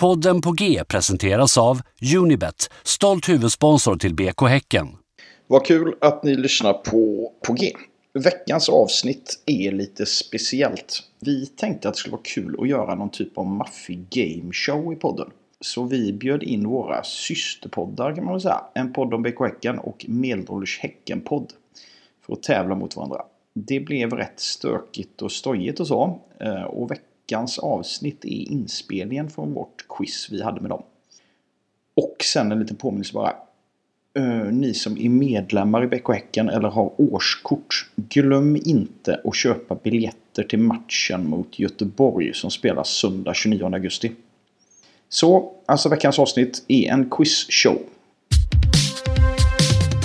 Podden på G presenteras av Unibet, stolt huvudsponsor till BK Häcken. Vad kul att ni lyssnar på, på G. Veckans avsnitt är lite speciellt. Vi tänkte att det skulle vara kul att göra någon typ av maffig game show i podden. Så vi bjöd in våra systerpoddar kan man väl säga. En podd om BK Häcken och Medelålders Häcken-podd. För att tävla mot varandra. Det blev rätt stökigt och stojigt och så. Eh, Och veckans avsnitt är inspelningen från vårt quiz vi hade med dem. Och sen en liten påminnelse bara. Eh, ni som är medlemmar i BK Häcken eller har årskort, glöm inte att köpa biljetter till matchen mot Göteborg som spelas söndag 29 augusti. Så, alltså veckans avsnitt är en quizshow.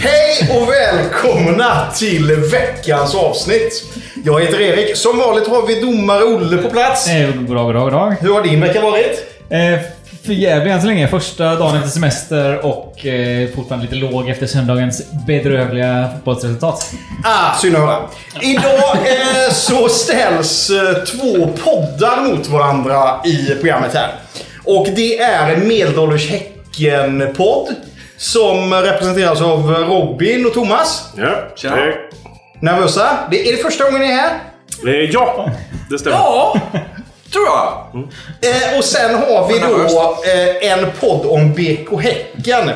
Hej och välkomna till veckans avsnitt. Jag heter Erik. Som vanligt har vi domare Olle på plats. Eh, Goddag, goddag, goddag. Hur har din vecka varit? Eh, för jävligt än så länge. Första dagen efter semester och eh, fortfarande lite låg efter söndagens bedrövliga fotbollsresultat. Ah, synd att höra. Idag eh, så ställs eh, två poddar mot varandra i programmet här. Och det är en Medelålders Häcken-podd som representeras av Robin och Thomas. Ja, Tjena. Det, Nervösa? Det är det första gången ni är här? det, ja, det stämmer. Ja, tror jag. Eh, och sen har vi då eh, en podd om BK Häcken.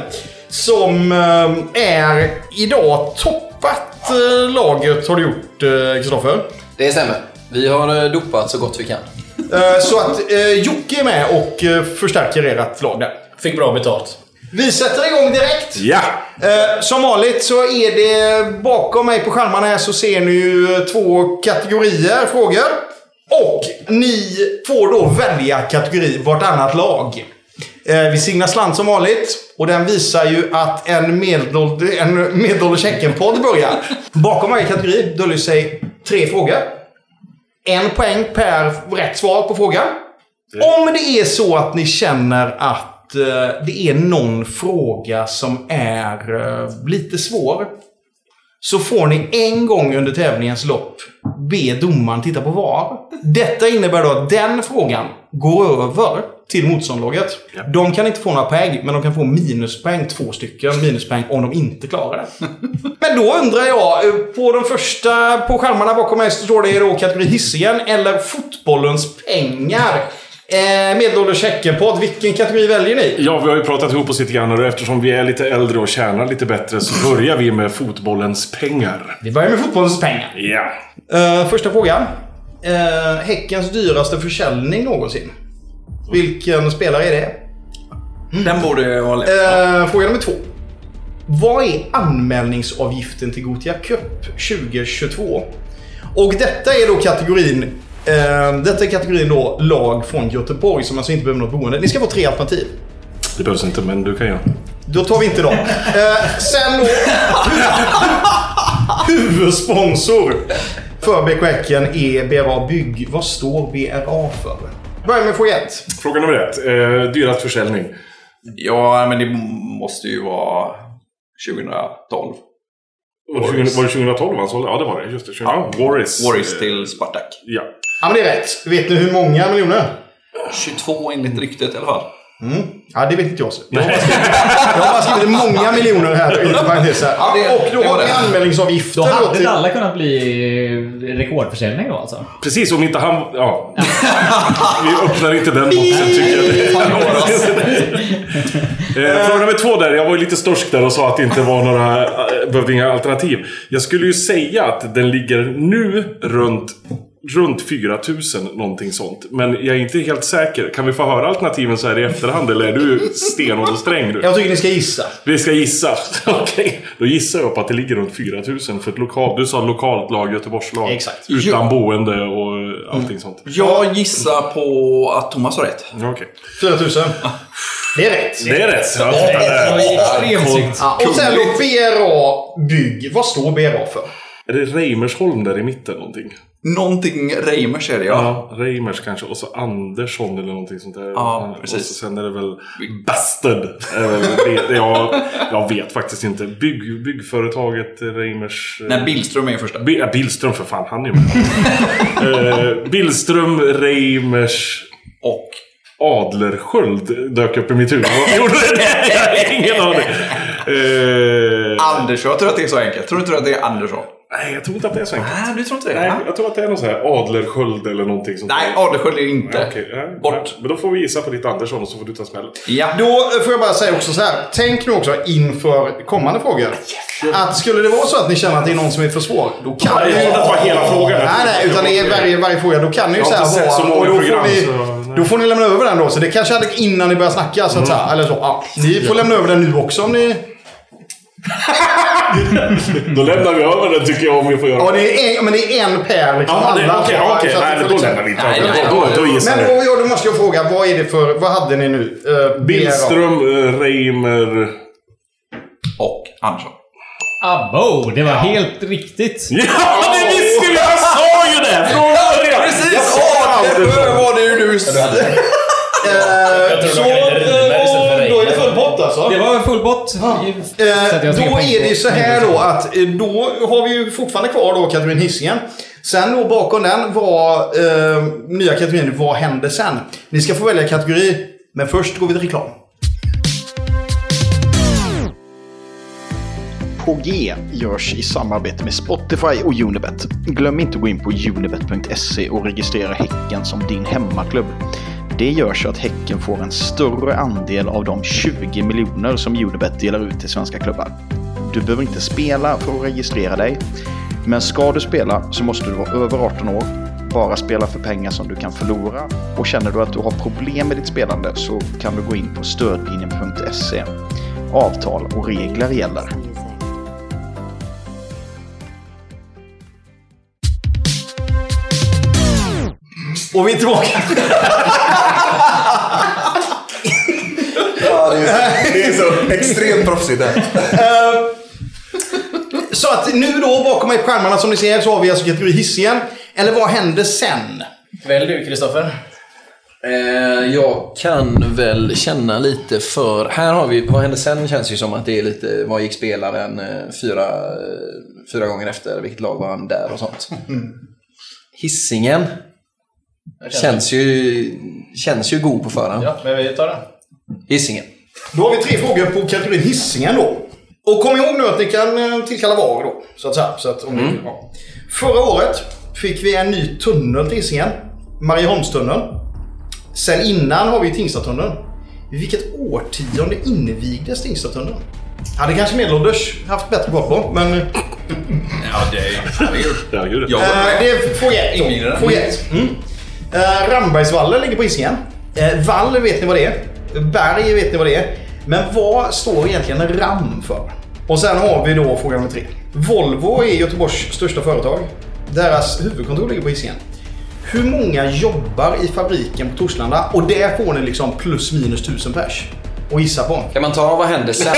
Som eh, är idag toppat eh, laget har du gjort eh, Kristoffer. Det stämmer. Vi har eh, dopat så gott vi kan. Eh, så att eh, Jocke är med och eh, förstärker ert lag där. Fick bra betalt. Vi sätter igång direkt. Ja! Eh, som vanligt så är det bakom mig på skärmarna här så ser ni ju eh, två kategorier frågor. Och ni får då välja kategori vartannat lag. Eh, vi signar slant som vanligt och den visar ju att en medelålders en medelålders Häcken-podd börjar. Bakom varje kategori döljer sig tre frågor. En poäng per rätt svar på frågan. Om det är så att ni känner att eh, det är någon fråga som är eh, lite svår. Så får ni en gång under tävlingens lopp be domaren titta på VAR. Detta innebär då att den frågan går över till motståndarlaget. Ja. De kan inte få några poäng, men de kan få minuspoäng, två stycken minuspoäng, om de inte klarar det. Men då undrar jag, eh, på de första, på skärmarna bakom mig så står det då kategori hissingen eller fotbollens pengar. Eh, Medelålders Häckenpodd, vilken kategori väljer ni? Ja, vi har ju pratat ihop oss lite grann och eftersom vi är lite äldre och tjänar lite bättre så börjar vi med fotbollens pengar. Vi börjar med fotbollens pengar. Ja. Eh, första frågan. Eh, häckens dyraste försäljning någonsin. Vilken spelare är det? Den borde jag ha lätt. Eh, fråga nummer två. Vad är anmälningsavgiften till Gothia Cup 2022? Och detta är då kategorin eh, detta är kategorin då lag från Göteborg som alltså inte behöver något boende. Ni ska få tre alternativ. Det behövs inte, men du kan göra. Då tar vi inte dem. Eh, sen då... Huvudsponsor för BK Häcken är BRA Bygg. Vad står BRA för? Börja med fråga ett. Fråga nummer ett. Eh, dyrast försäljning. Ja, men det måste ju vara 2012. Och 20, var det 2012 han sålde? Ja, det var det. Just det. 20, ja. Warris. Warriors till Spartak. Ja. Ja, men det är rätt. Vet ni hur många miljoner? 22 enligt ryktet i alla fall. Ja, det vet inte jag. så. Jag har bara skrivit, jag har bara skrivit många miljoner här inom parentes. här. Ja, det- och då det var har vi det. anmälningsavgiften. Då då hade till- det alla kunnat bli eh, rekordförsäljning då alltså. Precis, om inte han... Ja. vi öppnar inte den boxen tycker jag. eh, fråga nummer två där. Jag var ju lite storsk där och sa att det inte var några... eh, Behövde inga alternativ. Jag skulle ju säga att den ligger nu runt... Runt 4000 någonting sånt. Men jag är inte helt säker. Kan vi få höra alternativen så här i efterhand? Eller är du stenhård och sträng du? Jag tycker ni ska gissa. Vi ska gissa. Okej. Då gissar jag på att det ligger runt 4000 för ett lokal... Du sa lokalt lag, Göteborgslag. Exakt. Utan boende och eh, allting sånt. Jag gissar på att Thomas har rätt. Okej. 4 000. Det är rätt. Det är rätt. Ja, titta där. Extremt snyggt. Ja, och sen då BRA Bygg. Vad står BRA för? Är det Reimersholm där i mitten någonting? Någonting Reimers är det ja. Ja. Reimers kanske. Och så Andersson eller någonting sånt där. Ja, precis. Och så sen är det väl Bastard. Är väl det, det jag, jag vet faktiskt inte. Bygg, byggföretaget Reimers... Nej, Billström är ju första. Bi- ja, Billström för fan, han är ju med. eh, Billström, Reimers... Och Adlersköld dök upp i mitt huvud. Varför gjorde det det? Jag har ingen aning. Eh, Andersson. Jag tror att det är så enkelt. Tror du inte att det är Andersson? nej, jag tror inte att det är så enkelt. Nej, du tror inte det? Nej, Nej, jag tror att det är någon sån här Adlersköld eller någonting. Sånt Nej där. Adelsköld är det inte. Okej, nej, Bort. Men då får vi gissa på ditt Andersson och så får du ta smällen. Ja. Då får jag bara säga också så här. Tänk nu också inför kommande frågor. Att skulle det vara så att ni känner att det är någon som är för svår, då kan Nej, ni jag ju... trodde att det var hela frågan. Nej, nej, utan det är varje, varje fråga. Då kan ni ju Jag har så här inte sett vara- så många och då får program, ni, så- Mm. Då får ni lämna över den då. Så det kanske hade innan ni börjar snacka. Så att, så här, eller så. Ja, ni får lämna över den nu också om ni... Då lämnar vi över den tycker jag om vi får göra. Ja, det är en, men det är en per liksom. Ja, det- alla. okej, Så ja, att okej. det Nej, får då liksom- lämnar vi inte Nej, över. nej, Då- nej. Då gissar Men vi. då, ja, då måste jag fråga, vad är det för... Vad hade ni nu? Uh, Billström, eh, Reimer... Och Andersson. Abo! Det var helt riktigt. Ja, det visste vi! Jag sa ju det! Från början! Jag Precis! sa Adelsköld Andersson! var det ju du... Jag Eh, tror de hade rimer istället för Då är det regler. full pott alltså? Det var full bott. Så att Eh, jag tänker då på- är det ju så här då att eh, då har vi ju fortfarande kvar då kategorin Hisingen. Sen då bakom den var eh, nya kategorin Vad händer sen? Ni ska få välja kategori, men först går vi till reklam. På G görs i samarbete med Spotify och Unibet. Glöm inte att gå in på unibet.se och registrera Häcken som din hemmaklubb. Det gör så att Häcken får en större andel av de 20 miljoner som Unibet delar ut till svenska klubbar. Du behöver inte spela för att registrera dig, men ska du spela så måste du vara över 18 år, bara spela för pengar som du kan förlora och känner du att du har problem med ditt spelande så kan du gå in på stödlinjen.se. Avtal och regler gäller. Och vi är tillbaka. Det är så extremt proffsigt där. Så att nu då bakom mig på skärmarna som ni ser så har vi alltså kategori Hisingen. Eller vad händer sen? Välj du, Kristoffer. Eh, jag kan väl känna lite för... Här har vi, vad hände sen känns ju som att det är lite, vad gick spelaren eh, fyra, eh, fyra gånger efter, vilket lag var han där och sånt. Hissingen känns ju, känns ju god på förhand. Ja, men vi tar den. Hissingen. Då har vi tre frågor på kategorin Hisingen då. Och kom ihåg nu att ni kan eh, tillkalla VAR då. Så att, säga. så att, om ni, ja. Förra året fick vi en ny tunnel till Hisingen. Marieholmstunneln. Sen innan har vi Tingstadstunneln. I vilket årtionde invigdes Tingstadstunneln? Hade kanske medelålders haft bättre koll på, men eh, Ja, det är ju... Herregud. Ja. det är fråga ett. då. Invigde den. Fråga ett. Mm. Eh, Rambergsvallen ligger på Hisingen. Eh, Vall vet ni vad det är. Berg vet ni vad det är. Men vad står egentligen RAM för? Och sen har vi då fråga nummer tre. Volvo är Göteborgs största företag. Deras huvudkontor ligger på Hisingen. Hur många jobbar i fabriken på Torslanda? Och där får ni liksom plus minus tusen pers. Och gissa på. Kan man ta vad hände sen?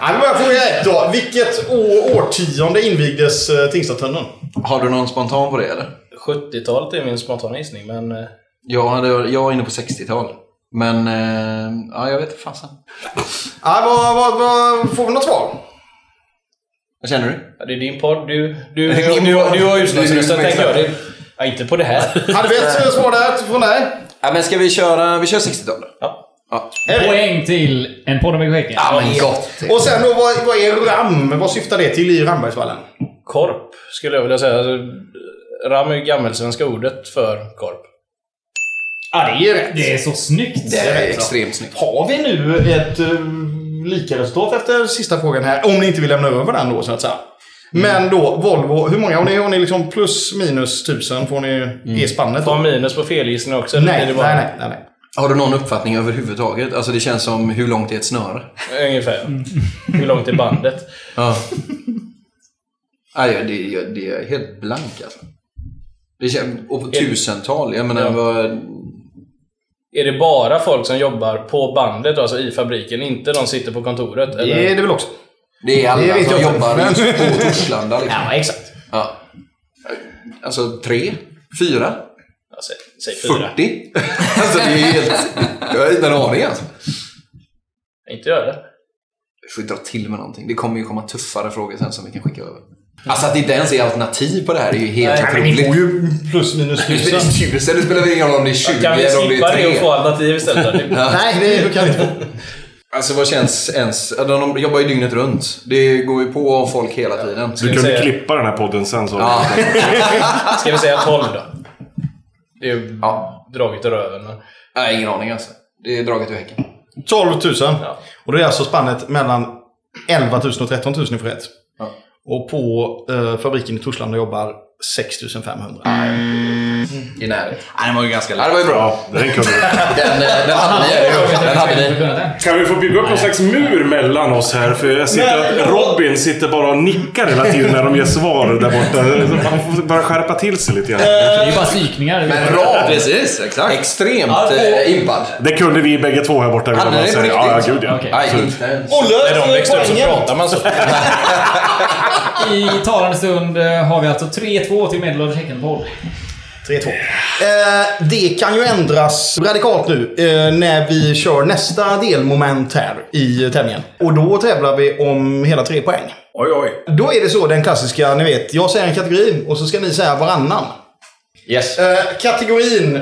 Ja, vi börjar fråga ett då. Vilket år, årtionde invigdes eh, Tingstadstunneln? har du någon spontan på det eller? 70-talet är min spontana gissning, men... eh, Jag, hade, jag var inne på 60-tal. Men, eh, ja jag vet fasen. Ja, vad, vad, vad, får vi något svar? Vad känner du? Ja, det är din podd. Du, du, Det är du, min du, podd. du har Det är utslagsrösten, min tänker jag. Det, ja, inte på det här. Hade vi ett svar där från dig? Ja, men ska vi köra, vi kör 60-tal? Ja. ja. Poäng till en podd med skäcken. Ja, men gott. Och sen då, vad, vad är RAM? Vad syftar det till i Rambergsvallen? Korp, skulle jag vilja säga. Alltså, Ram är ju gammelsvenska ordet för korp. Ja, det är rätt. Det är så snyggt. Det är rätt, extremt snyggt. Har vi nu ett uh, lika resultat efter sista frågan här? Om ni inte vill lämna över den då, så att säga. Men då, Volvo. Hur många har ni? Har ni liksom plus minus tusen? Får ni i spannet? Får Då? man minus på felgissningen också? eller Nej, är det nej, bara- nej, nej, nej. Har du någon uppfattning överhuvudtaget? Alltså det känns som hur långt är ett snöre? Ungefär. Hur långt är bandet? Ja. Nej, jag- det, jag, det är helt blank alltså. Det känns, och på tusental. Jag menar, Ja. vad, Är det bara folk som jobbar på bandet, alltså i fabriken? Inte de sitter på kontoret? Eller? Det är det väl också. det är alla Det vet som jag inte. jobbar just på Torslanda liksom. Ja, exakt. Ja. Alltså tre? Fyra? Ja, säg, säg fyra. 40? Alltså det är helt... Jag har inte en aning alltså. Inte gör det. Jag får dra till med någonting. Det kommer ju komma tuffare frågor sen som vi kan skicka över. Alltså att det inte ens är alternativ på det här är ju helt Nej, Men ni otroligt. får ju plus minus Det tusen. är tusen, det spelar väl ingen roll om det är 20 Kan vi eller om det slippa är det och 3. få alternativ istället? då? Det- Nej, det kan inte få. Alltså vad känns ens... ja, De jobbar ju dygnet runt. Det går ju på folk hela tiden. Du kunde säga- klippa den här podden sen så. Ja. Ska vi säga 12 då? Det är ju Ja. draget i röven. Men... Nej, ingen aning alltså. Det är draget ur häcken. 12 000. Och det är alltså spannet mellan 11 000 och 13 000 ni får rätt. Ja. Och på eh, fabriken i Torslanda jobbar 6 500. I närhet. Nej, den var ju ganska Ja, det lätt. var ju bra. Ja, den kunde du. Den, eh, den hade ni. eller hur? Den hade ni. Kan vi få bygga upp någon slags mur mellan oss här? För jag sitter, Robin sitter bara och nickar hela tiden när de ger svar där borta. Så Man får bara skärpa till sig lite grann. Det är ju bara psykningar. Men bra! Precis, exakt. Extremt eh, impad. Det kunde vi bägge två här borta. vill jag Hade bara ni det på säga. ja, ja, riktigt? gud ja. Okej. Nej, inte ens. När de växte upp så pratar man så. I talande stund eh, har vi alltså 3-2 till medelålders Häckenboll. 3-2. Eh, det kan ju ändras radikalt nu eh, när vi kör nästa delmoment här i tävlingen. Och då tävlar vi om hela tre poäng. Oj, oj. Då är det så den klassiska, ni vet, jag säger en kategori och så ska ni säga varannan. Yes. Eh, kategorin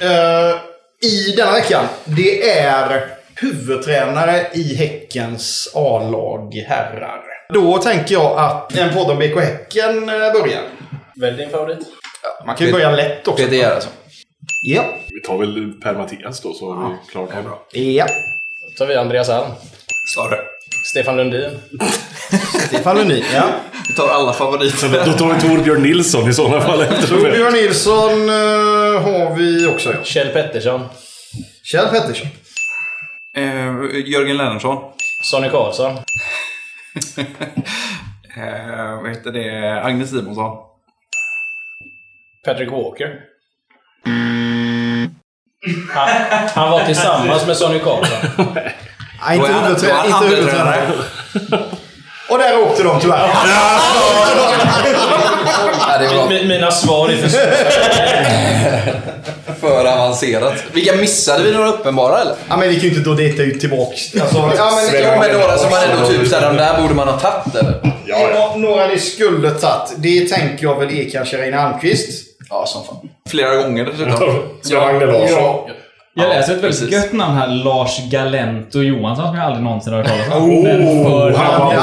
eh, i denna veckan, det är huvudtränare i Häckens A-lag herrar. Då tänker jag att en podd om BK Häcken eh, börjar. Välj din favorit. Man kan ju börja lätt också. PTR alltså. Ja. Vi tar väl Per-Mattias då så har vi klart. Det bra. Ja. Då tar vi Andreas Alm. Sa du? Stefan Lundin. Stefan Lundin. Ja. Vi tar alla favoriter. Då tar vi Torbjörn Nilsson i sådana fall. eftersom vi- Torbjörn Nilsson eh, har vi också. Ja. Kjell Pettersson. Kjell Pettersson. eh, Jörgen Lennartsson. Sonny Karlsson. Eh, vad heter det? Agnes Simonsson. Patrick Walker. Han, han var tillsammans med Sonny Karlsson. Nej, inte Då är han- då är huvudtränare. han Inte huvudtränare. huvudtränare. Och där åkte de tyvärr. Ja, det var Mi- Mina svar är för för avancerat. Vilka missade vi? Några uppenbara eller? Ja, men vi kan ju inte då dejta ut tillbaks. Alltså, ja, men, Jo, men några som man ändå typ såhär, de där borde man ha tagit eller? Nå- Några ni skulle tagit. Det tänker jag väl är kanske Reine Almqvist. Ja, som fan. Flera gånger dessutom. Så Agne Larsson. Jag Ja, läser ett väldigt precis. gött namn här. Lars Galento Johansson som jag aldrig någonsin har hört talas om. Oh, han, var, han- han, var han-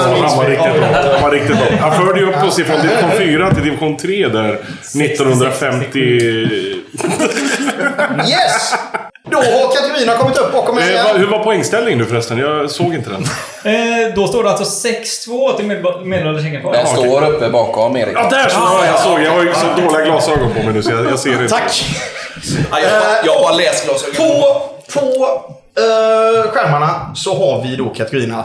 riktigt bra. han var riktigt bra. Han förde ju upp oss ifrån division 4 till division 3 där 1950... Yes! Då har kategorierna kommit upp bakom mig Eh, va- igen. hur var poängställningen nu förresten? Jag såg inte den. Eh, då står det alltså 6-2 till medel- medelålders Häckenboll. Den står uppe bakom Erik. Ja, där så! Ja, jag såg. Jag har ju så dåliga glasögon på mig nu så jag, jag ser inte. Tack! Ja, jag, jag har läsglasögon. På, på eh, skärmarna så har vi då kategorierna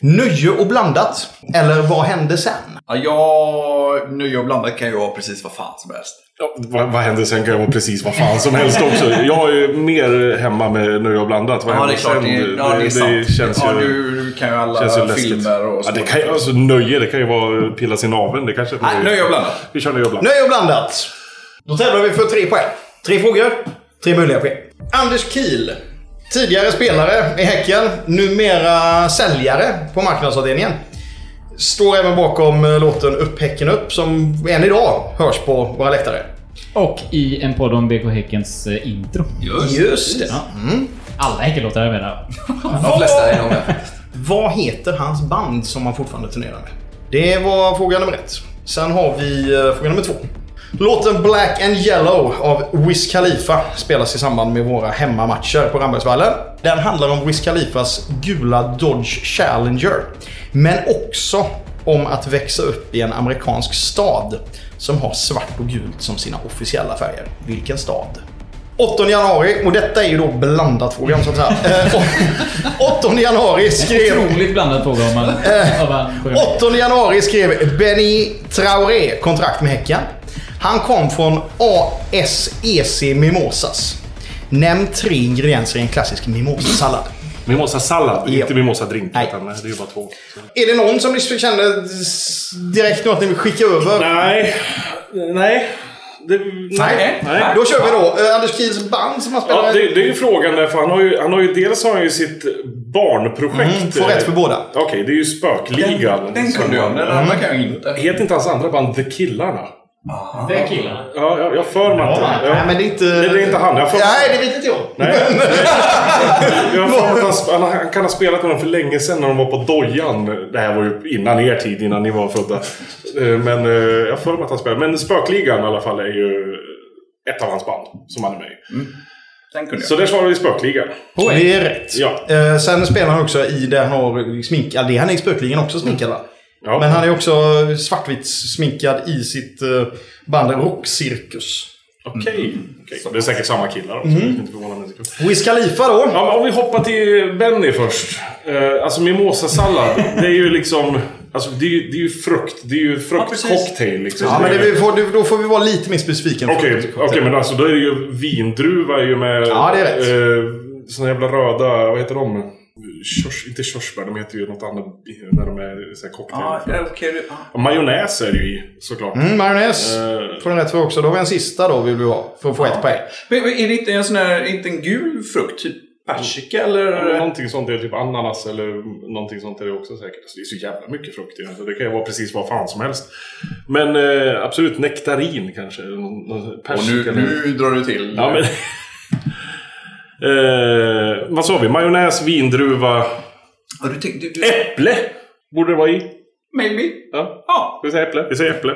Nöje och blandat. Eller Vad hände sen? Ja, jag... Nu och blandat kan ju vara precis vad fan som helst. Ja, vad, vad hände sen kan jag vara precis vad fan som helst också. Jag är ju mer hemma med nu jag blandat. Vad Ja, hände det är klart. Det, sen? är- ja, det är sant. känns ju... ja, du kan ju känns ju alla läskigt. filmer och Ja, så. det kan ju, alltså, nöje, det kan ju vara pilla sin naveln. Det kanske... Nej, nu är jag blandat. Vi kör nu jag blandat. Nöje och blandat. Då tävlar vi för tre poäng. Tre frågor, tre möjliga poäng. Anders Kiel. Tidigare spelare i Häcken, numera säljare på marknadsavdelningen. Står även bakom eh, låten Upp Häcken Upp som än idag hörs på våra läktare. Och i en podd om BK Häckens eh, intro. Just det. Alla Häckenlåtar är med där. De flesta är nog med. Vad heter hans band som han fortfarande turnerar med? Det var fråga nummer ett. Sen har vi eh, fråga nummer två. Låten Black and Yellow av Wiz Khalifa spelas i samband med våra hemmamatcher på Rambergsvallen. Den handlar om Wiz Khalifas gula Dodge Challenger. Men också om att växa upp i en amerikansk stad som har svart och gult som sina officiella färger. Vilken stad? 8 januari, och detta är ju då blandat frågan så att säga. Eh, 8 januari skrev... Otroligt blandad fråga om man... Eh. om man frågar. 8 januari skrev Benny Traoré kontrakt med Häcken. Han kom från ASEC Mimosas. Nämn tre ingredienser i en klassisk mimosasallad. Mimosa-sallad, Ja. inte mimosa-drink. Nej. utan eh, Det är ju bara två. Så. Är det någon som liksom ni känner s- direkt något ni vill skicka över? Nej. Nej. Det, Nej. Nej. Då kör vi då. Eh, Anders Kiels band som han Ja, spelar det, i. det är ju frågan där, för han har ju, han har ju dels har han ju sitt barnprojekt. Mm, får rätt för båda. Okej, det är ju Spökligan. Den kunde jag, den Mm. andra kan jag inte. Heter inte hans andra band The Killarna? Det är killarna. Ja, jag, jag för mig att det- ja. Nej, men det är inte... Nej, det är inte han. Jag får, Nej, det vet inte jag. nej. jag får att han, sp- han, han kan ha spelat med dem för länge sedan när de var på Dojan. Det här var ju innan er tid, innan ni var födda. Eh, Men eh, jag får mig att han spelar. Men Spökligan i alla fall är ju ett av hans band som han är med i. Mm. Den kunde Så där svarar vi Spökligan. Det är rätt. Ja. Eh, sen spelar han också i där han har smink... Ja, det han är spökligen också sminkad va? Ja. Men han är också svartvitt sminkad i sitt eh, band Rockcirkus. Okej. Mm. Okej, Det är säkert samma killar också. Jag är inte förvånad en sekund. Wiz Khalifa då. Ja, men om vi hoppar till Benny först. Eh, alltså mimosasallad, det är ju liksom... Alltså det är ju, det är ju frukt. Det är ju fruktcocktail liksom. Ja, men det, vi får, du- då får vi vara lite mer specifika. än Okej, förut. okej, men alltså då är det ju vindruva är ju med... Ja, det är rätt. Eh, såna jävla röda, vad heter de? Körs, inte körsbär, de heter ju något annat när de är så här cocktail. Ja, eh. det är okej. du- ja. Och Majonnäs är det ju i, såklart. Mm, majonnäs. Eh. Får den rätt för också. Då har vi en sista då vill vi ha. För att få ett poäng. Men men är det inte en sån här, inte en gul frukt? Typ persika eller? Någonting sånt är typ ananas eller någonting sånt är det också säkert. Alltså, det är så jävla mycket frukt i den, så det kan ju vara precis vad fan som helst. Men eh, absolut, nektarin kanske. eller någon- någon Och Persika. nu, eller- nu drar du till. Ja, men... eh, vad sa vi? Majonnäs, vindruva, Ja, du tänkte, du, äpple borde det vara i. maybe? Ja, Ja. vi säger äpple. Vi säger äpple.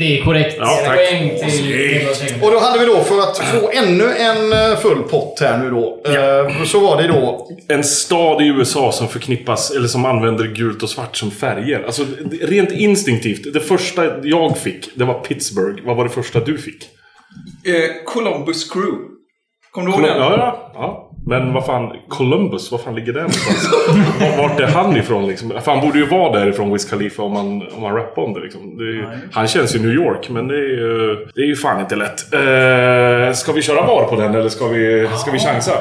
Det är korrekt. Ja, tack. Poäng till... Snyggt. Och då hade vi då för att få ännu en eh, full pott här nu då. eh, Så var det då En stad i USA som förknippas, eller som använder gult och svart som färger. Alltså, det- rent instinktivt. Det första jag fick, det var Pittsburgh. Vad var det första du fick? Eh, Columbus Crew. Kommer du ihåg Col- den? ja, ja, ja. Men vad fan, Columbus, vad fan ligger där någonstans? Var- Vart är han ifrån liksom? För han borde ju vara därifrån Wiz Khalifa om man, om man rappar om det liksom. Det är, ju- han känns ju New York, men det är ju, det är ju fan inte lätt. Eh, ska vi köra VAR på den eller ska vi, ska vi chansa?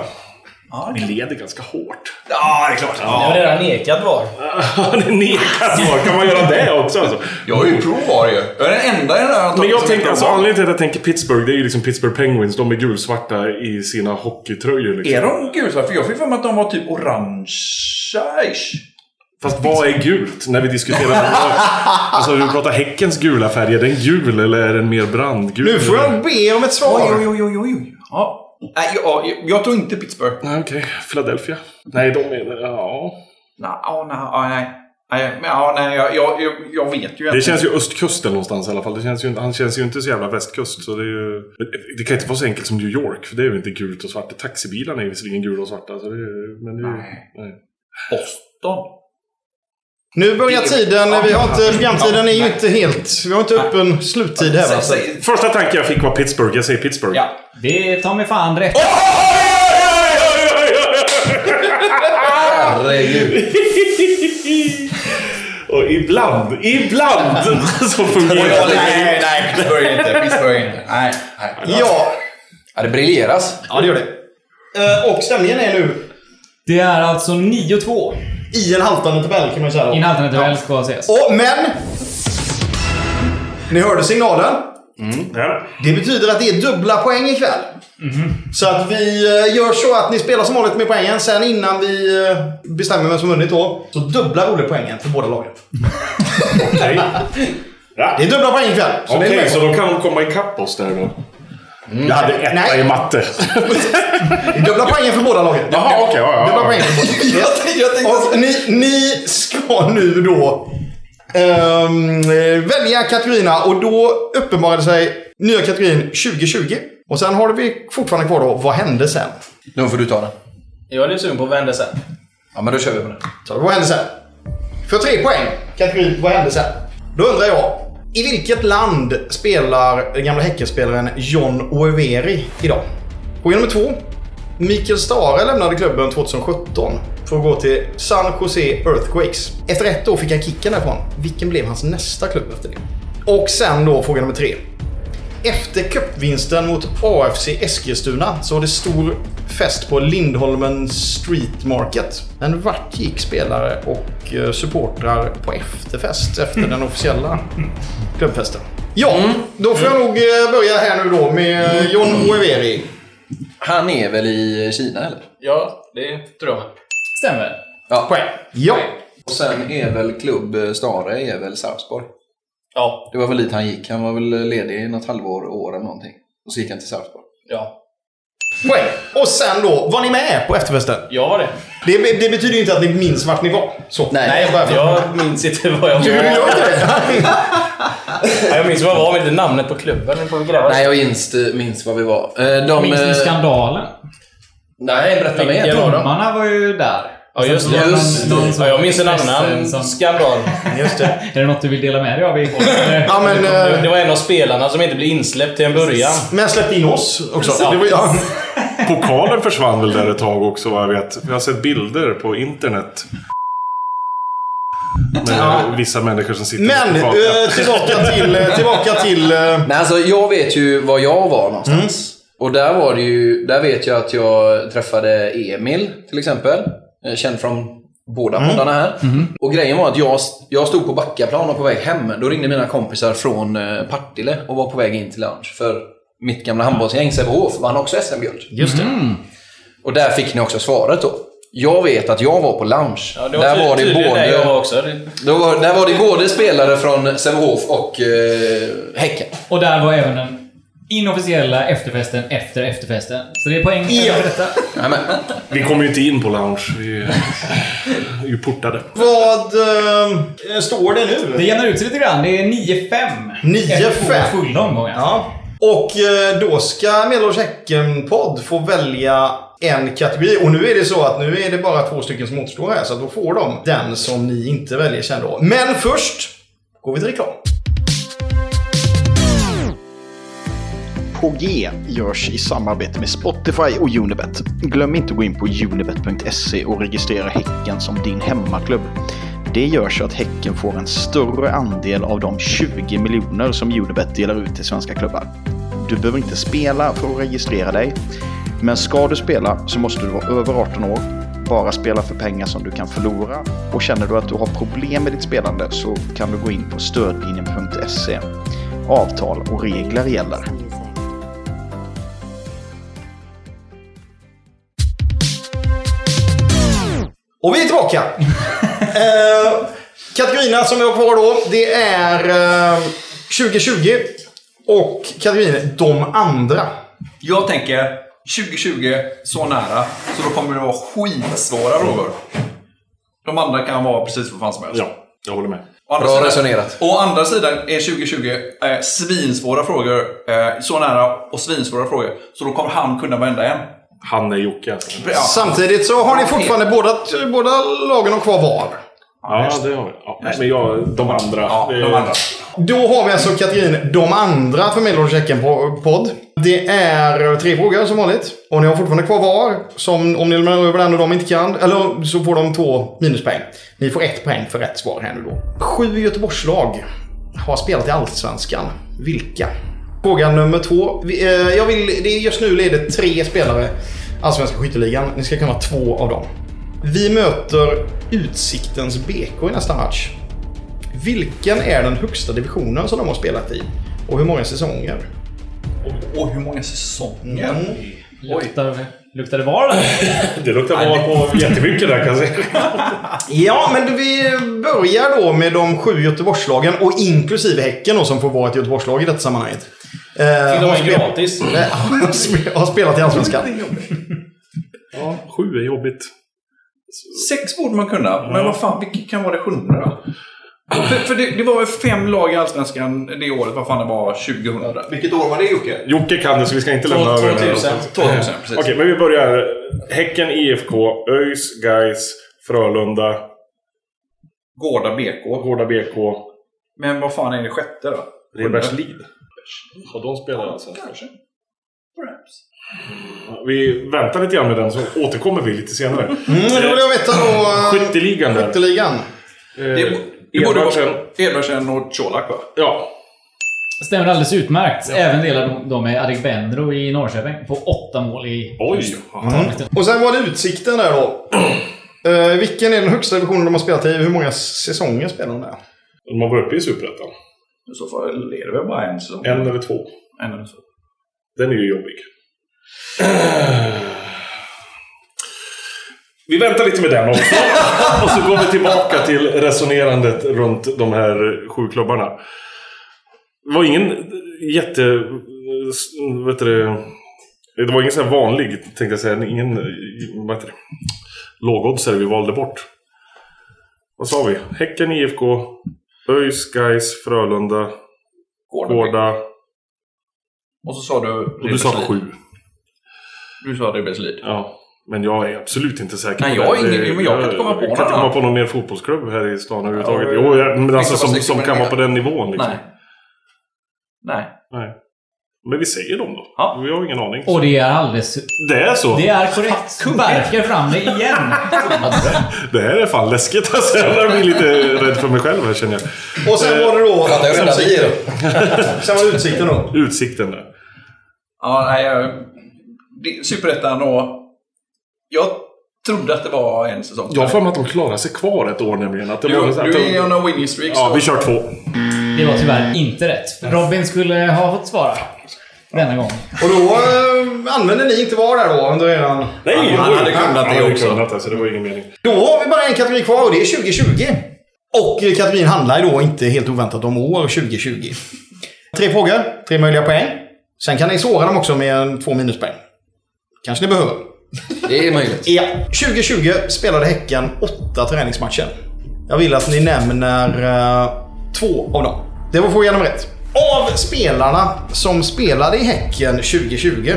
Vi leder ganska hårt. Ja, det är klart. Jag har redan nekat var. Han är nekad VAR, kan man göra det också alltså? Jag har ju provar ju. Jag är den enda i den här antagligen Men jag som tänker, inte alltså har- anledningen till att jag tänker Pittsburgh, det är ju liksom Pittsburgh Penguins. De är gulsvarta i sina hockeytröjor liksom. Är de gula? För jag fick för mig att de var typ orangea-ish. Fast vad är gult? När vi diskuterar... alltså vi pratar Häckens gula färg. Är den gul eller är den mer brandgul? Nu får jag be om ett Oj, svar. oj, oj, oj, oj, oj. Ja. Nej, jag, jag, jag tror inte Pittsburgh. Nej, okej. Philadelphia. Nej, de är... Ja. Nej, ja, nej, ja, nej. Nej, men ja, nej, jag, jag, jag, jag vet ju Det inte. känns ju östkusten någonstans i alla fall. Det känns ju, inte- han känns ju inte så jävla västkust. Så det, är ju, det kan inte vara så enkelt som New York, för det är ju inte gult och svart. Taxibilarna är visserligen gula och svarta. Så det är, men det är, ju- Nej. nej. Boston. Nu börjar tiden. Vi har inte, programtiden är ju inte helt... Vi har inte öppen sluttid här. va? Säg, säg. Första tanken jag fick var Pittsburgh. Jag säger Pittsburgh. Ja. Det tar mig fan rätt. Herregud. Och ibland, ibland så fungerar det. Nej, nej, Pittsburgh inte. Pittsburgh inte. Nej, nej. Ja, Ja, det briljeras. ja det gör det. Eh, Och stämningen är nu Det är alltså 9-2. i en haltande tabell kan man säga. då. Innan alternativet väl ska ses. Och, men! Ni hörde signalen. Ja. Mm-hmm. Det betyder att det är dubbla poäng ikväll. Så att vi eh, gör så att ni spelar som vanligt med poängen. Sen innan vi eh, bestämmer vem som vunnit då, så dubblar Olle poängen för båda lagen. Mm. Okej, Det är dubbla poäng ikväll. Så det är Okej, med. så då kan de komma ikapp oss där då. Jag hade etta Nej. i matte. Det är dubbla poängen för båda lagen. Jaha, okej. ja, Dubbla ja, poäng ja. för båda Jag tänkte, jag tänkte Och ni, ni ska nu då ehm, välja kategorierna och då uppenbarade sig nya kategorin 2020. Och sen har vi fortfarande kvar då, vad hände sen? Nu får du ta den. Jag är lite sugen på att vända sen. Ja, men då kör vi på den. Så vad hände sen? För tre poäng, kategorin vad hände sen? Då undrar jag, i vilket land spelar den gamla Häckenspelaren John Oeveri idag? Fråga nummer två. Mikael Stare lämnade klubben 2017 för att gå till San Jose Earthquakes. Efter ett år fick han kicken därifrån. Vilken blev hans nästa klubb efter det? Och sen då fråga nummer tre. Efter cupvinsten mot AFC Eskilstuna så var det stor fest på Lindholmen Street Market. Men vart gick spelare och eh, supportrar på efterfest efter den officiella klubbfesten? Ja, då får jag nog eh, börja här nu då med eh, John Oeveri. Han är väl i Kina eller? Ja, det tror jag. Stämmer. Ja. Ja. Och sen är väl klubb eh, Stare är väl Sarpsborg. Ja, Det var väl dit han gick. Han var väl eh, ledig i något halvår, år eller någonting. Och så gick han till Sarpsborg. ja. Poäng. Och sen då, var ni med på efterfesten? Jag var det. Det, det betyder ju inte att ni minns vart ni var. Så. Nej. Nej, bara för- jag minns inte vad jag Du var. gör inte det? Nej, Jag minns vad jag var, men inte namnet på klubben. Nu får vi gräva. Nej, jag minns, minns vad vi var. Eh, De, Minns ni eh, skandalen? Nej, berätta Vilken mer. av dem? Domarna var ju där. Ja, just det. Någon- Just någon som Ja, jag var minns en annan Expressen som- skandal. Just det. Är det något du vill dela med dig av i Ja, men, Det det eh, var en av spelarna som inte blev insläppt till en början. men släpp in oss också. Det var, ju- ja. Pokalen försvann väl där ett tag också vad jag vet. Jag har sett bilder på internet. Med vissa människor som sitter Men med pokalen. eh, tillbaka till... eh, Tillbaka till eh, Nej, alltså jag vet ju var jag var någonstans. Mm. Och där var det ju, där vet jag att jag träffade Emil till exempel. Eh, Känd från båda Mm. poddarna här. Och grejen var att jag, jag stod på Backaplan och på väg hem. Då ringde mina kompisar från eh, Partille och var på väg in till lunch. För mitt gamla handbollsgäng Sävehof vann också SM-guld. Just det. Mm. Och där fick ni också svaret då. Jag vet att jag var på lunch. Ja, det var där ty- var det tydligen där både... jag var också. Det- Då var, där var det både spelare från Sävehof och eh, Häcken. Och där var även den inofficiella efterfesten efter efterfesten. Så det är poäng Ja. för detta. Jajamän. Vi kom ju inte in på lounge. Vi är ju portade. Vad eh, står det Det nu? jämnar ut sig lite grann. Det är 9-5. 9-5. Efter två fulla omgångar. Ja. Och eh, då ska Medelålders Häcken-podd få välja en kategori. Och nu är det så att nu är det bara två stycken som återstår här. Så då får de den som ni inte väljer sen då. Men först går vi till reklam. På G görs i samarbete med Spotify och Unibet. Glöm inte att gå in på unibet.se och registrera Häcken som din hemmaklubb. Det gör så att Häcken får en större andel av de 20 miljoner som Unibet delar ut till svenska klubbar. Du behöver inte spela för att registrera dig, men ska du spela så måste du vara över 18 år, bara spela för pengar som du kan förlora och känner du att du har problem med ditt spelande så kan du gå in på stödlinjen.se. Avtal och regler gäller. Och vi är tillbaka! eh, kategorierna som vi har kvar då, det är eh, 2020 och kategorin De andra. Jag tänker 2020, så nära. Så då kommer det vara skitsvåra frågor. De andra kan vara precis vad fan som helst. Ja, jag håller med. Å andra Bra sidan- resonerat. Å andra sidan är 2020 eh, svinsvåra frågor. Eh, så nära och svinsvåra frågor. Så då kommer han kunna vända en. Han är Jocke. alltså. Ja. Samtidigt så har ni fortfarande båda, båda lagen har kvar var. Ja, det har vi. Ja, men jag, de andra. Ja, det- de andra. Då har vi alltså kategorin De andra för Medelålders Häcken-podd. Det är tre frågor som vanligt. Och ni har fortfarande kvar var. Som om ni lämnar över den och de inte kan. Eller så får de två minuspoäng. Ni får ett poäng för rätt svar här nu då. Sju Göteborgslag har spelat i Allsvenskan. Vilka? Fråga nummer två. Vi, eh, Jag vill, det är just nu leder tre spelare Allsvenska skytteligan. Ni ska kunna två av dem. Vi möter Utsiktens BK i nästa match. Vilken är den högsta divisionen som de har spelat i? Och hur många säsonger? Och, och hur många säsonger? Luktar, luktar det var eller? Det luktar val på jättemycket där kan jag säga. Ja, men vi börjar då med de sju Göteborgslagen och inklusive Häcken då, som får vara ett Göteborgslag i detta sammanhanget. Eh, Fick de har, en spel- gratis? eh, har spe- har spelat i Allsvenskan. Ja, sju är jobbigt. Sex borde man kunna, men vad fan, vilket kan vara det sjunde då? för för det, det var väl fem lag i Allsvenskan det året, vad fan det var, 2000? Vilket år var det Jocke? Jocke kan det så vi ska inte lämna över den här alltså. 2000. 2000, precis. Okej, men vi börjar. Häcken, IFK, ÖIS, Gais, Frölunda, Gårda BK. Gårda BK, Men vad fan är det sjätte då? Redbergslid. Och de spelar alltså. Kanske. Perhaps. Vi väntar lite grann med den så återkommer vi lite senare. Mm, då vill jag veta då... eh, Skytteligan där. Skytteligan. Det, Eh, det borde vara Edvardsen. Edvardsen och Colak va? Ja, Stämmer alldeles utmärkt. Även delar de- de med Adek Benro i Norrköping på åtta mål i... oj. Och sen var det Utsikten där då. Eh, vilken är den högsta divisionen de har spelat i? Hur många säsonger spelar de där? De har varit uppe i Superettan. I så fall är det väl bara en säsong. En eller två. En eller två. Den är ju jobbig. Vi väntar lite med den också. Och så går vi tillbaka till resonerandet runt de här sju klubbarna. Det var ingen jätte... Vet du, det det var ingen så här vanlig, tänkte jag säga. Ingen vad heter det, lågoddsare vi valde bort. Vad sa vi? Häcken, IFK, ÖIS, Gais, Frölunda, Gårda. Och så sa du... Och du sa Ribeslid. sju. Du sa Ribbelslid. Ja, men jag är absolut inte säker. Nej, på jag det. är ingen- men jag kan inte komma på jag någon kan inte komma annan. på någon mer fotbollsklubb här i stan överhuvudtaget. Ja, jo, jag, men inte alltså på som, sex, som men kan nej. vara på den nivån liksom. Nej. Nej. Men vi säger dem då. Ja. Vi har ingen aning. Och det är alldeles... Det är så. Det är korrekt. Verkar fram det igen. Det här är fan läskigt alltså. Jag blir lite rädd för mig själv här känner jag. Och sen var det då... Fattar Eh, jag redan sen- tio då? Sen var utsikten då. Utsikten där. Ja, nej, jag... det- Superettan och... Jag trodde att det var en säsong. Jag har för mig att de klarar sig kvar ett år nämligen. Att det Du, var så här- du är liksom- on a winning streak. Ja, så- vi kör två. Det var tyvärr inte rätt. Robin skulle ha fått svara. Denna gång. Och då eh, använde ni inte VAR där då under eran... Nej, han, hade kunnat det också. Kunnat, alltså, det var ingen mening. Då har vi bara en kategori kvar och det är 2020. Och eh, kategorin handlar ju då inte helt oväntat om år 2020. Tre frågor, tre möjliga poäng. Sen kan ni såra dem också med en- två minuspoäng. Kanske ni behöver. Det är möjligt. Ja. 2020 spelade Häcken åtta träningsmatcher. Jag vill att ni nämner eh, två av dem. Det var fråga nummer ett. Av spelarna som spelade i Häcken 2020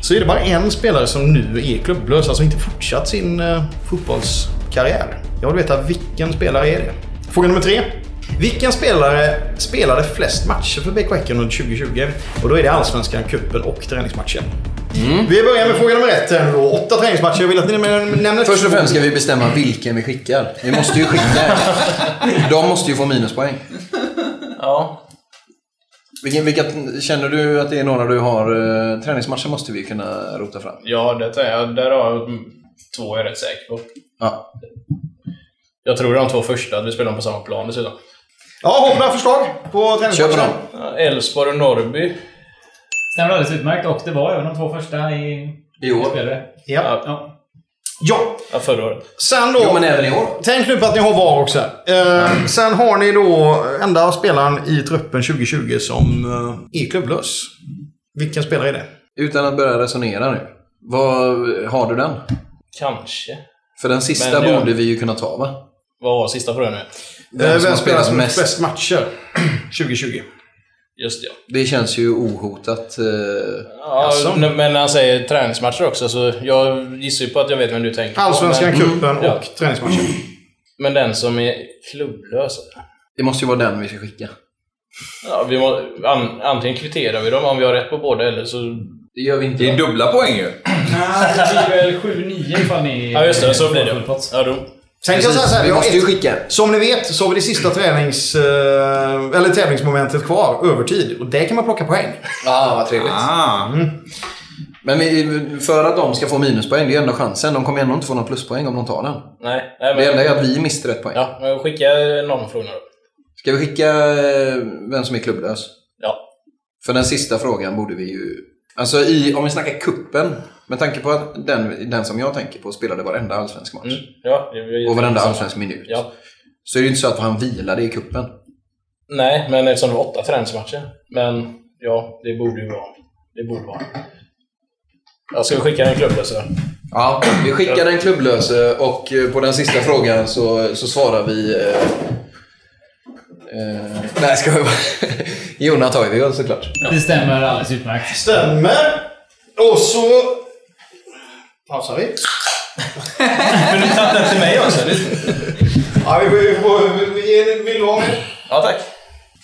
så är det bara en spelare som nu är klubblös, alltså inte fortsatt sin eh, fotbollskarriär. Jag vill veta vilken spelare är det? Fråga nummer tre. Vilken spelare spelade flest matcher för BK Häcken under 2020? Och då är det Allsvenskan, cupen och träningsmatchen. Vi börjar med fråga nummer ett. här nu då. Åtta träningsmatcher. Jag vill att ni nämner- nämner Först och två. främst ska vi bestämma vilken vi skickar. Vi måste ju skicka en. De måste ju få minuspoäng. Ja. Vilken, vilka, känner du att det är några du har... eh, Träningsmatcher måste vi kunna rota fram. Ja, det är, jag- där har jag mm, två jag är rätt säker på. Ja. Jag tror de två första, att vi spelar dem på samma plan dessutom. Ja, har vi några förslag på Kör på träningsmatchen? dem. Ja, Elfsborg och Norrby. Stämmer alldeles utmärkt och det var även de två första i... I år. Spelare. Ja. Ja. ja. Ja, förra året. Sen då. Jo, men även i år. Tänk nu på att ni har VAR också. Eh, sen har ni då enda spelaren i truppen 2020 som eh, är klubblös. Vilken spelare är det? Utan att börja resonera nu. Vad, har du den? Kanske. För den sista Men jag- borde vi ju kunna ta, va? Vad var sista frågan nu? Vem som har spelat Eh, som mest? flest matcher 2020? Just det, ja. Det känns ju ohotat. eh, Ja, Jaså? men när han säger träningsmatcher också, så jag gissar ju på att jag vet vem du tänker på, Allsvenskan, Mm. men, cupen ja. och träningsmatcher. men den som är klubblös. Det måste ju vara den vi ska skicka. Ja, vi må, an, antingen kvitterar vi dem om vi har rätt på båda, eller så... Det gör vi inte. Det är dubbla poäng ju. Nej, det blir väl 7-9 ifall ni... Ja, just det. Så blir det. Full pott. Ja, då. Sen kan jag säga så Precis, här, vi vi har måste ju ett skicka. Som ni vet så har vi det sista tränings, eh, eller tävlingsmomentet kvar, övertid. Och där kan man plocka poäng. mm. Ah, vad trevligt. Ah. Men vi, för att de ska få minuspoäng, det är enda chansen. De kommer ändå inte få någon pluspoäng om de tar den. Nej, nej Det enda men, är att vi mister ett poäng. ja, men skicka någon fråga då. Ska vi skicka eh, vem som är klubblös? Ja. För den sista frågan borde vi ju... Alltså i, om vi snackar kuppen med tanke på att den, den som jag tänker på spelade varenda allsvensk match Mm, ja, det blir och varenda samma. allsvensk minut. Ja. Så är det ju inte så att han vilade i kuppen. Nej, men eftersom det var åtta träningsmatcher. Men ja, det borde ju vara Det borde vara Jag ska skicka en klubblös då. Ja, vi skickar den klubblöse och eh, på den sista frågan så, så svarar vi... Eh, eh, nej, ska jag Jonna tar vi väl såklart. Det stämmer alldeles utmärkt. Stämmer. Och så... Pausar vi. Till mig också. Det- Ja, vi, vi, vi, vi, vill du ha med? Ja, tack.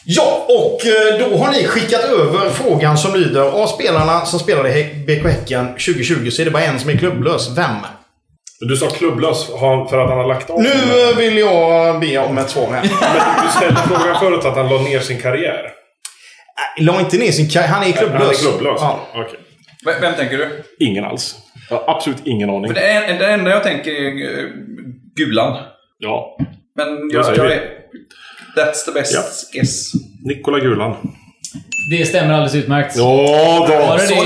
Ja, och eh, då har ni skickat över frågan som lyder av spelarna som spelade i Hä- BK Häcken 2020 så är det bara en som är klubblös. Vem? Men Du sa klubblös har- för att han har lagt av. Nu eh, vill jag be om ett svar här. Men du ställde frågan förut att han la ner sin karriär. La inte ner sin karriär. Han är klubblös. Han är klubblös. Ja. Okej. V- Vem tänker du? Ingen alls. Jag har absolut ingen aning. För det, en, det enda jag tänker är eh, Gulan. Ja. Men Jag jag, säger jag det. är... That's the best Ja. guess. Nikola Gulan. Det stämmer alldeles utmärkt. Ja, Var då. det det?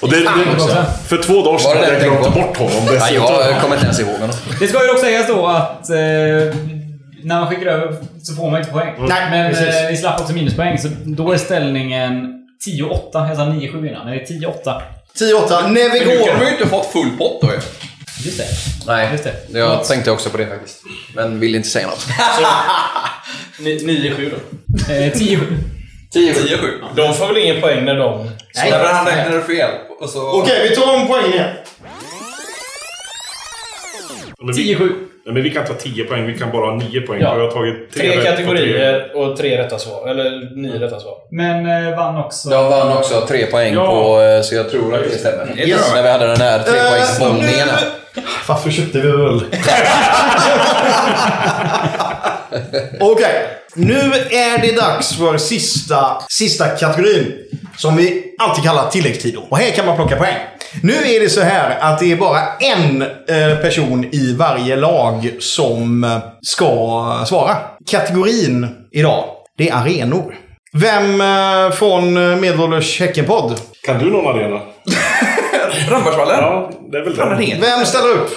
Och det, det, för två dagar sedan Var det hade jag den jag glömt tänkte på? bort honom Nej, dessutom. jag kommer inte ens ihåg honom. Det ska ju dock sägas då att eh, när man skickar över så får man inte poäng. Nej, men Mm. precis. eh, vi slapp också minuspoäng, så då är ställningen 10-8. Jag sa 9-7 innan, men det är 10-8. 10-8. Du kan Nevigor. ju inte fått full pott då ju. Just det. Nej, Just det. jag tänkte också på det faktiskt. Men vill inte säga något. 9-7 då. Eh, 10-7. 10-7. De får väl ingen poäng när de... Nej, men han räknade fel. Och så... Okej, vi tar om poängen igen. Men vi, 10-7. nej, men vi kan ta 10 poäng, vi kan bara ha 9 poäng. Ja. för Jag har tagit tre, Tre rätt på kategorier och tre rätta svar. Eller nio rätta svar. Men eh, vann också. Jag vann också tre poäng Ja. på, eh, så jag tror att det stämmer. Yes. När vi hade den här trepoängsbombningen. Eh, här. Varför köpte vi öl? Okej, nu är det dags för sista, sista kategorin. Som vi alltid kallar tilläggstid. då. Och här kan man plocka poäng. Nu är det så här att det är bara en eh, person i varje lag som eh, ska svara. Kategorin idag, det är arenor. Vem eh, från eh, Medelålders Häckenpodd? Kan du någon arena? Rambergsvallen? Ja, det är väl Fan, den. det är- Vem ställer upp?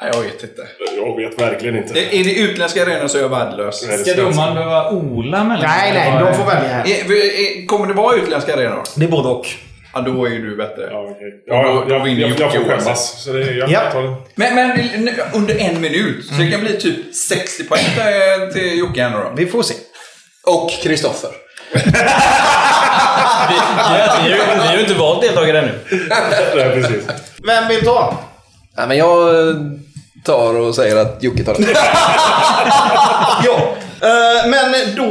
Nej, jag vet inte. Jag vet verkligen inte. Är är det utländska arenor så är jag värdelös. Nej, det Ska ska jag inte. domaren behöva ola mellan? Nej, nej, de får välja här. Är- är- Kommer det vara utländska arenor? Det är både och. Ja, då är ju du bättre. Ja, okej. ja, jag, jag, jag, jag får skämmas. Så det, jag Ja. tar den. Men, men nu- under en minut. Så det kan bli typ 60 poäng till- till Jocke här nu då. Vi får se. Och Kristoffer. Vi, vi, vi, vi har ju inte valt deltagare ännu. Nej, precis. Vem vill ta? Nej, men jag eh, tar och säger att Jocke tar det. Ja. Eh, Men då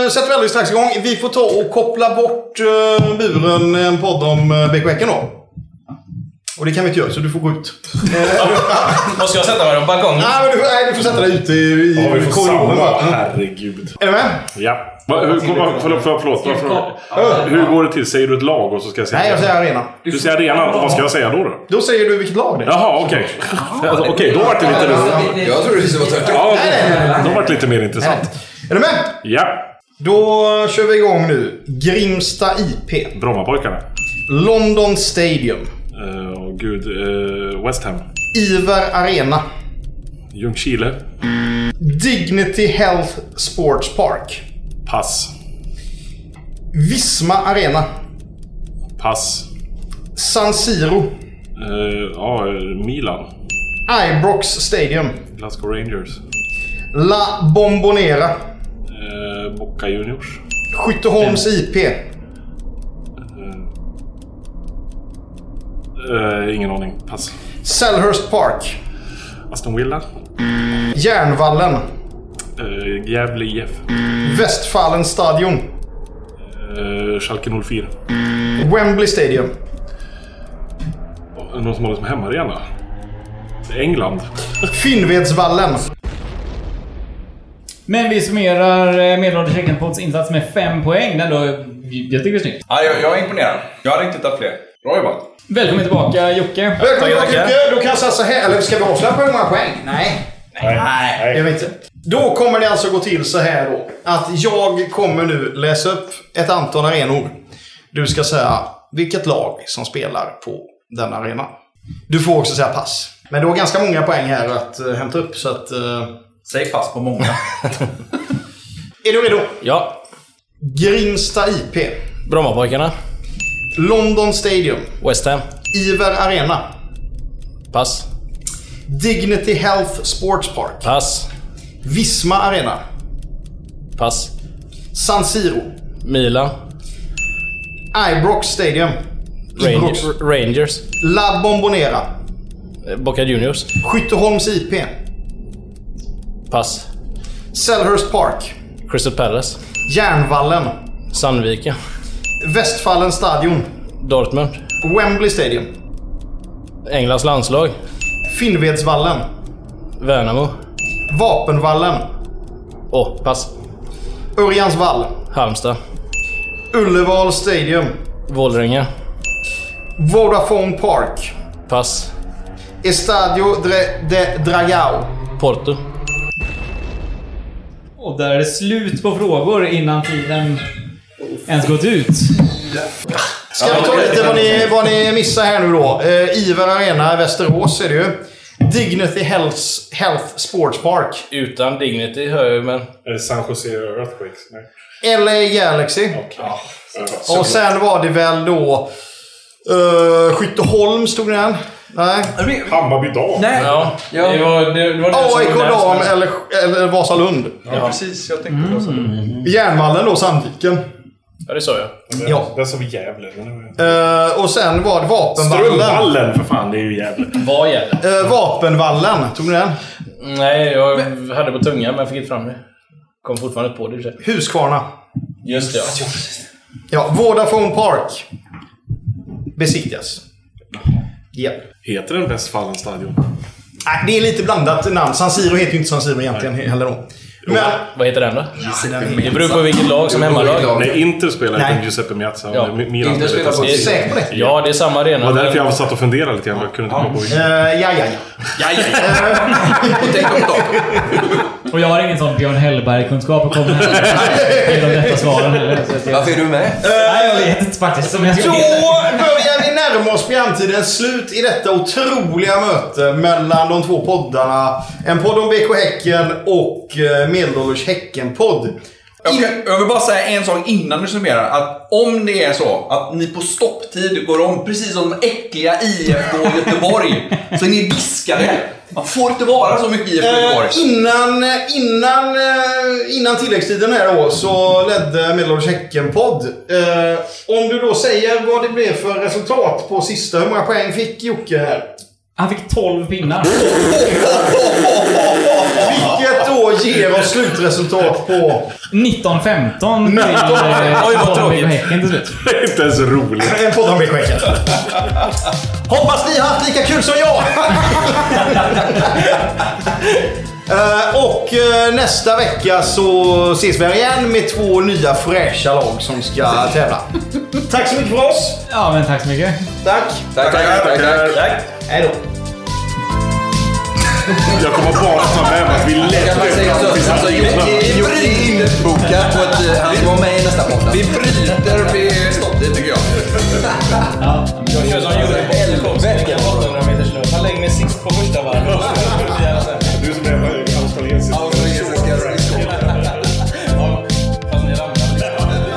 eh, sätter vi alldeles strax igång. Vi får ta och koppla bort eh, buren en podd om eh, BK Häcken då. Och det kan vi inte göra, så du får gå ut. Måste jag sätta mig på balkongen? Nej, men du, nej, du får sätta dig ute i, i Ja, vi får korridoren. samma. bara. Mm. Herregud. Är du med? Ja. Va, hur, förlåt, förlåt, förlåt, förlåt. Varför- Hur går det till? Säger du ett lag och så ska jag säga Nej, jag säger arena. Du säger arenan. Och vad ska jag säga då? då? Då säger du vilket lag det är. Jaha, okej. Alltså, Okej, då vart det lite... Jag tror det var tvärtom. Ja, då vart det lite mer intressant. Är du med? Ja. Då kör vi igång nu. Grimsta IP. Brommapojkarna. London Stadium. Eh, Åh gud. eh, West Ham. Iver Arena. Ljungskile. Dignity Health Sports Park. Pass. Visma Arena. Pass. San Siro. Eh, Ja, Milan. Ibrox Stadium. Glasgow Rangers. La Bombonera. Eh, Boca Juniors. Skytteholms IP. Eh, Ingen aning. Pass. Selhurst Park. Aston Villa. Järnvallen. Eh, Gävle IF. Westfalen Stadion. Eh, Schalke 04. Wembley Stadium. Är det Någon som har det som hemmaarena? England. Finnvedsvallen. Men vi summerar eh, Medelålders Häckenpodds insats med 5 poäng. Den då, jag tycker det är snyggt. Ja, jag, jag är imponerad. Jag hade inte tagit fler. Bra jobbat. Välkommen tillbaka Jocke. Välkommen Tackar, tillbaka Jocke. Då kan jag satsa här. Eller ska vi avslöja på hur många poäng? Nej. Nej. Det gör vi inte. Då kommer det alltså gå till så här då. Att jag kommer nu läsa upp ett antal arenor. Du ska säga vilket lag som spelar på den arenan. Du får också säga pass. Men du har ganska många poäng här att eh, hämta upp så att... eh, Säg pass på många. Är du redo? Ja. Grimsta IP. Brommapojkarna. London Stadium. West Ham. Iver Arena. Pass. Dignity Health Sports Park. Pass. Visma Arena. Pass. San Siro. Milan. Ibrox Stadium. Ibrox. Rangers. Rangers. La Bombonera. Eh, Boca Juniors. Skytteholms IP. Pass. Selhurst Park. Crystal Palace. Järnvallen. Sandviken. Västfallen Stadion. Dortmund. Wembley Stadium. Englands landslag. Finnvedsvallen. Värnamo. Vapenvallen. Åh, pass. Örjansvall. Halmstad. Ullevål Stadium. Vålringa. Vodafone Park. Pass. Estadio Dre de Dragao. Porto. Och där är det slut på frågor innan tiden ens gått ut. Ska vi ta lite vad ni, vad ni missar här nu då? Eh, Iver Arena i Västerås är det ju. Dignity Health, Health Sports Park. Utan Dignity hör jag ju, men... Är det San Jose Earthquakes? Nej. LA Galaxy. Ja. Och sen var det väl då... Uh, Skytteholm stod det den. Nej. Hammarby Dam. Nej. Ja, det var det, det, var det AIK var Dam eller, eller Vasalund. Ja, precis. Jag tänkte på det. också. Järnvallen då, Sandviken. Ja, det sa jag. Ja. Där sa vi Gävle. men det var ju- Eh, och sen var det Eh, Vapenvallen. Strömvallen för fan, det är ju Gävle. Vad gäller? Eh, vapenvallen, tog ni den? Nej, jag hade på tungan men jag fick inte fram det. Kom fortfarande inte på det i och för sig. Huskvarna. Just det, ja. Ja, Vodafone Park. Besiktigas. Ja. Heter den Västfallen stadion? Nej, det är lite blandat namn. San Siro heter ju inte San Siro egentligen heller då. Men... Vad heter den då? Nej, Det beror på vilket lag som är hemmalag. Nej, Inter spelar Nej. utan Giuseppe Miazza. Ja. Ja. Milan Inter spelar på- är du säker på det? Ja, det är samma Det arena. var därför jag satt och funderade lite grann. Jag kunde inte komma på vilken. Eh, ja, ja, ja. Tänk om dem. Och jag har ingen sån Björn Hellberg-kunskap att komma med genom detta svaren heller. så att jag- Varför är du med? Nej, jag vet inte faktiskt. Som jag ska Då veta. börjar vi närma oss framtidens slut i detta otroliga möte mellan de två poddarna. En podd om BK Häcken och eh, Medelålders Häcken-podd. Jag kan- Jag vill bara säga en sak innan du summerar. Att om det är så att ni på stopptid går om precis som de äckliga IFK Göteborg, så är ni diskade. Man får inte vara så mycket IFK Göteborg. Eh, innan, innan, eh, innan tilläggstiden här då så ledde Medelålders Häcken-podd. Eh, om du då säger vad det blev för resultat på sista. Hur många poäng fick Jocke här? Han fick 12 pinnar. Vilket då ger oss slutresultat på 19-15 till eh, Oj, vad Hammarby tråkigt. och Häcken till slut. Det är inte ens roligt. en podd om BK Häcken. Hoppas ni har haft lika kul som jag! Eh, Och eh, nästa vecka så ses vi här igen med två nya fräscha lag som ska tävla. Tack så mycket för oss! Ja, men tack så mycket. Tack! Tack, tack, tack. tack. Hej då! Jag kommer bara ta med mig att vi Jag kan lät säga så, alltså, Jocke är inbokad på att eh, han ska vara med i nästa podd. Vi bryter vid stopptid tycker jag. Jag kör som gjorde på Helvete 800 meters löp. Han lägger mig sist på första varvet. Du som är australiensisk. Ja, fast ni ramlade.